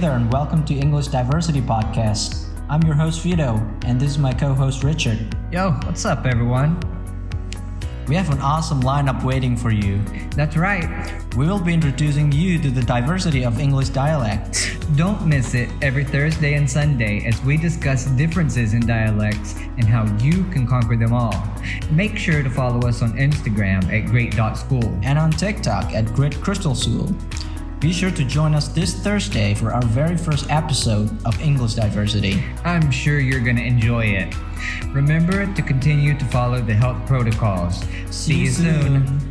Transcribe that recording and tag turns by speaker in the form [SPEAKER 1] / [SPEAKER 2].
[SPEAKER 1] there, and welcome to English Diversity Podcast. I'm your host, Vito, and this is my co host, Richard.
[SPEAKER 2] Yo, what's up, everyone?
[SPEAKER 1] We have an awesome lineup waiting for you.
[SPEAKER 2] That's right.
[SPEAKER 1] We will be introducing you to the diversity of English dialects.
[SPEAKER 2] Don't miss it every Thursday and Sunday as we discuss differences in dialects and how you can conquer them all. Make sure to follow us on Instagram at great.school.
[SPEAKER 1] and on TikTok at Great Crystal School. Be sure to join us this Thursday for our very first episode of English Diversity.
[SPEAKER 2] I'm sure you're going to enjoy it. Remember to continue to follow the health protocols. See, you soon.